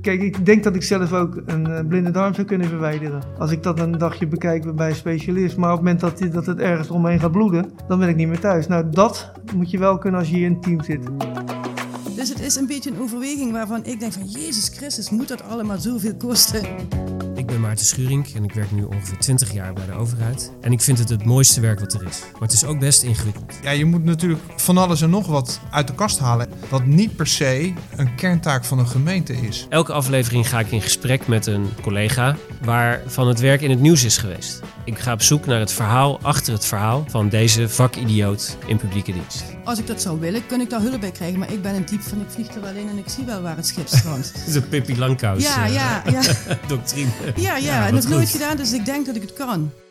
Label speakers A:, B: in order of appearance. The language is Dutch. A: Kijk, ik denk dat ik zelf ook een eh, blinde darm zou kunnen verwijderen. Als ik dat een dagje bekijk bij een specialist. Maar op het moment dat, die- dat het ergens omheen gaat bloeden, dan ben ik niet meer thuis. Nou, dat moet je wel kunnen als je hier in het team zit.
B: Dus het is een beetje een overweging waarvan ik denk van Jezus Christus, moet dat allemaal zoveel kosten?
C: Ik ben Maarten Schuring en ik werk nu ongeveer 20 jaar bij de overheid. En ik vind het het mooiste werk wat er is. Maar het is ook best ingewikkeld.
D: Ja, je moet natuurlijk van alles en nog wat uit de kast halen. Wat niet per se een kerntaak van een gemeente is.
C: Elke aflevering ga ik in gesprek met een collega waarvan het werk in het nieuws is geweest. Ik ga op zoek naar het verhaal achter het verhaal van deze vakidioot in publieke dienst.
B: Als ik dat zou willen, kun ik daar hulp bij krijgen. Maar ik ben een diep van ik vlieg er wel in en ik zie wel waar het schip strandt.
C: Het is een Pippi Langkous
B: Ja, ja, ja, ja,
C: doctrine.
B: eh, ja.
C: wat
B: en dat heb ik nooit
C: goed.
B: gedaan, dus ik denk dat ik het kan.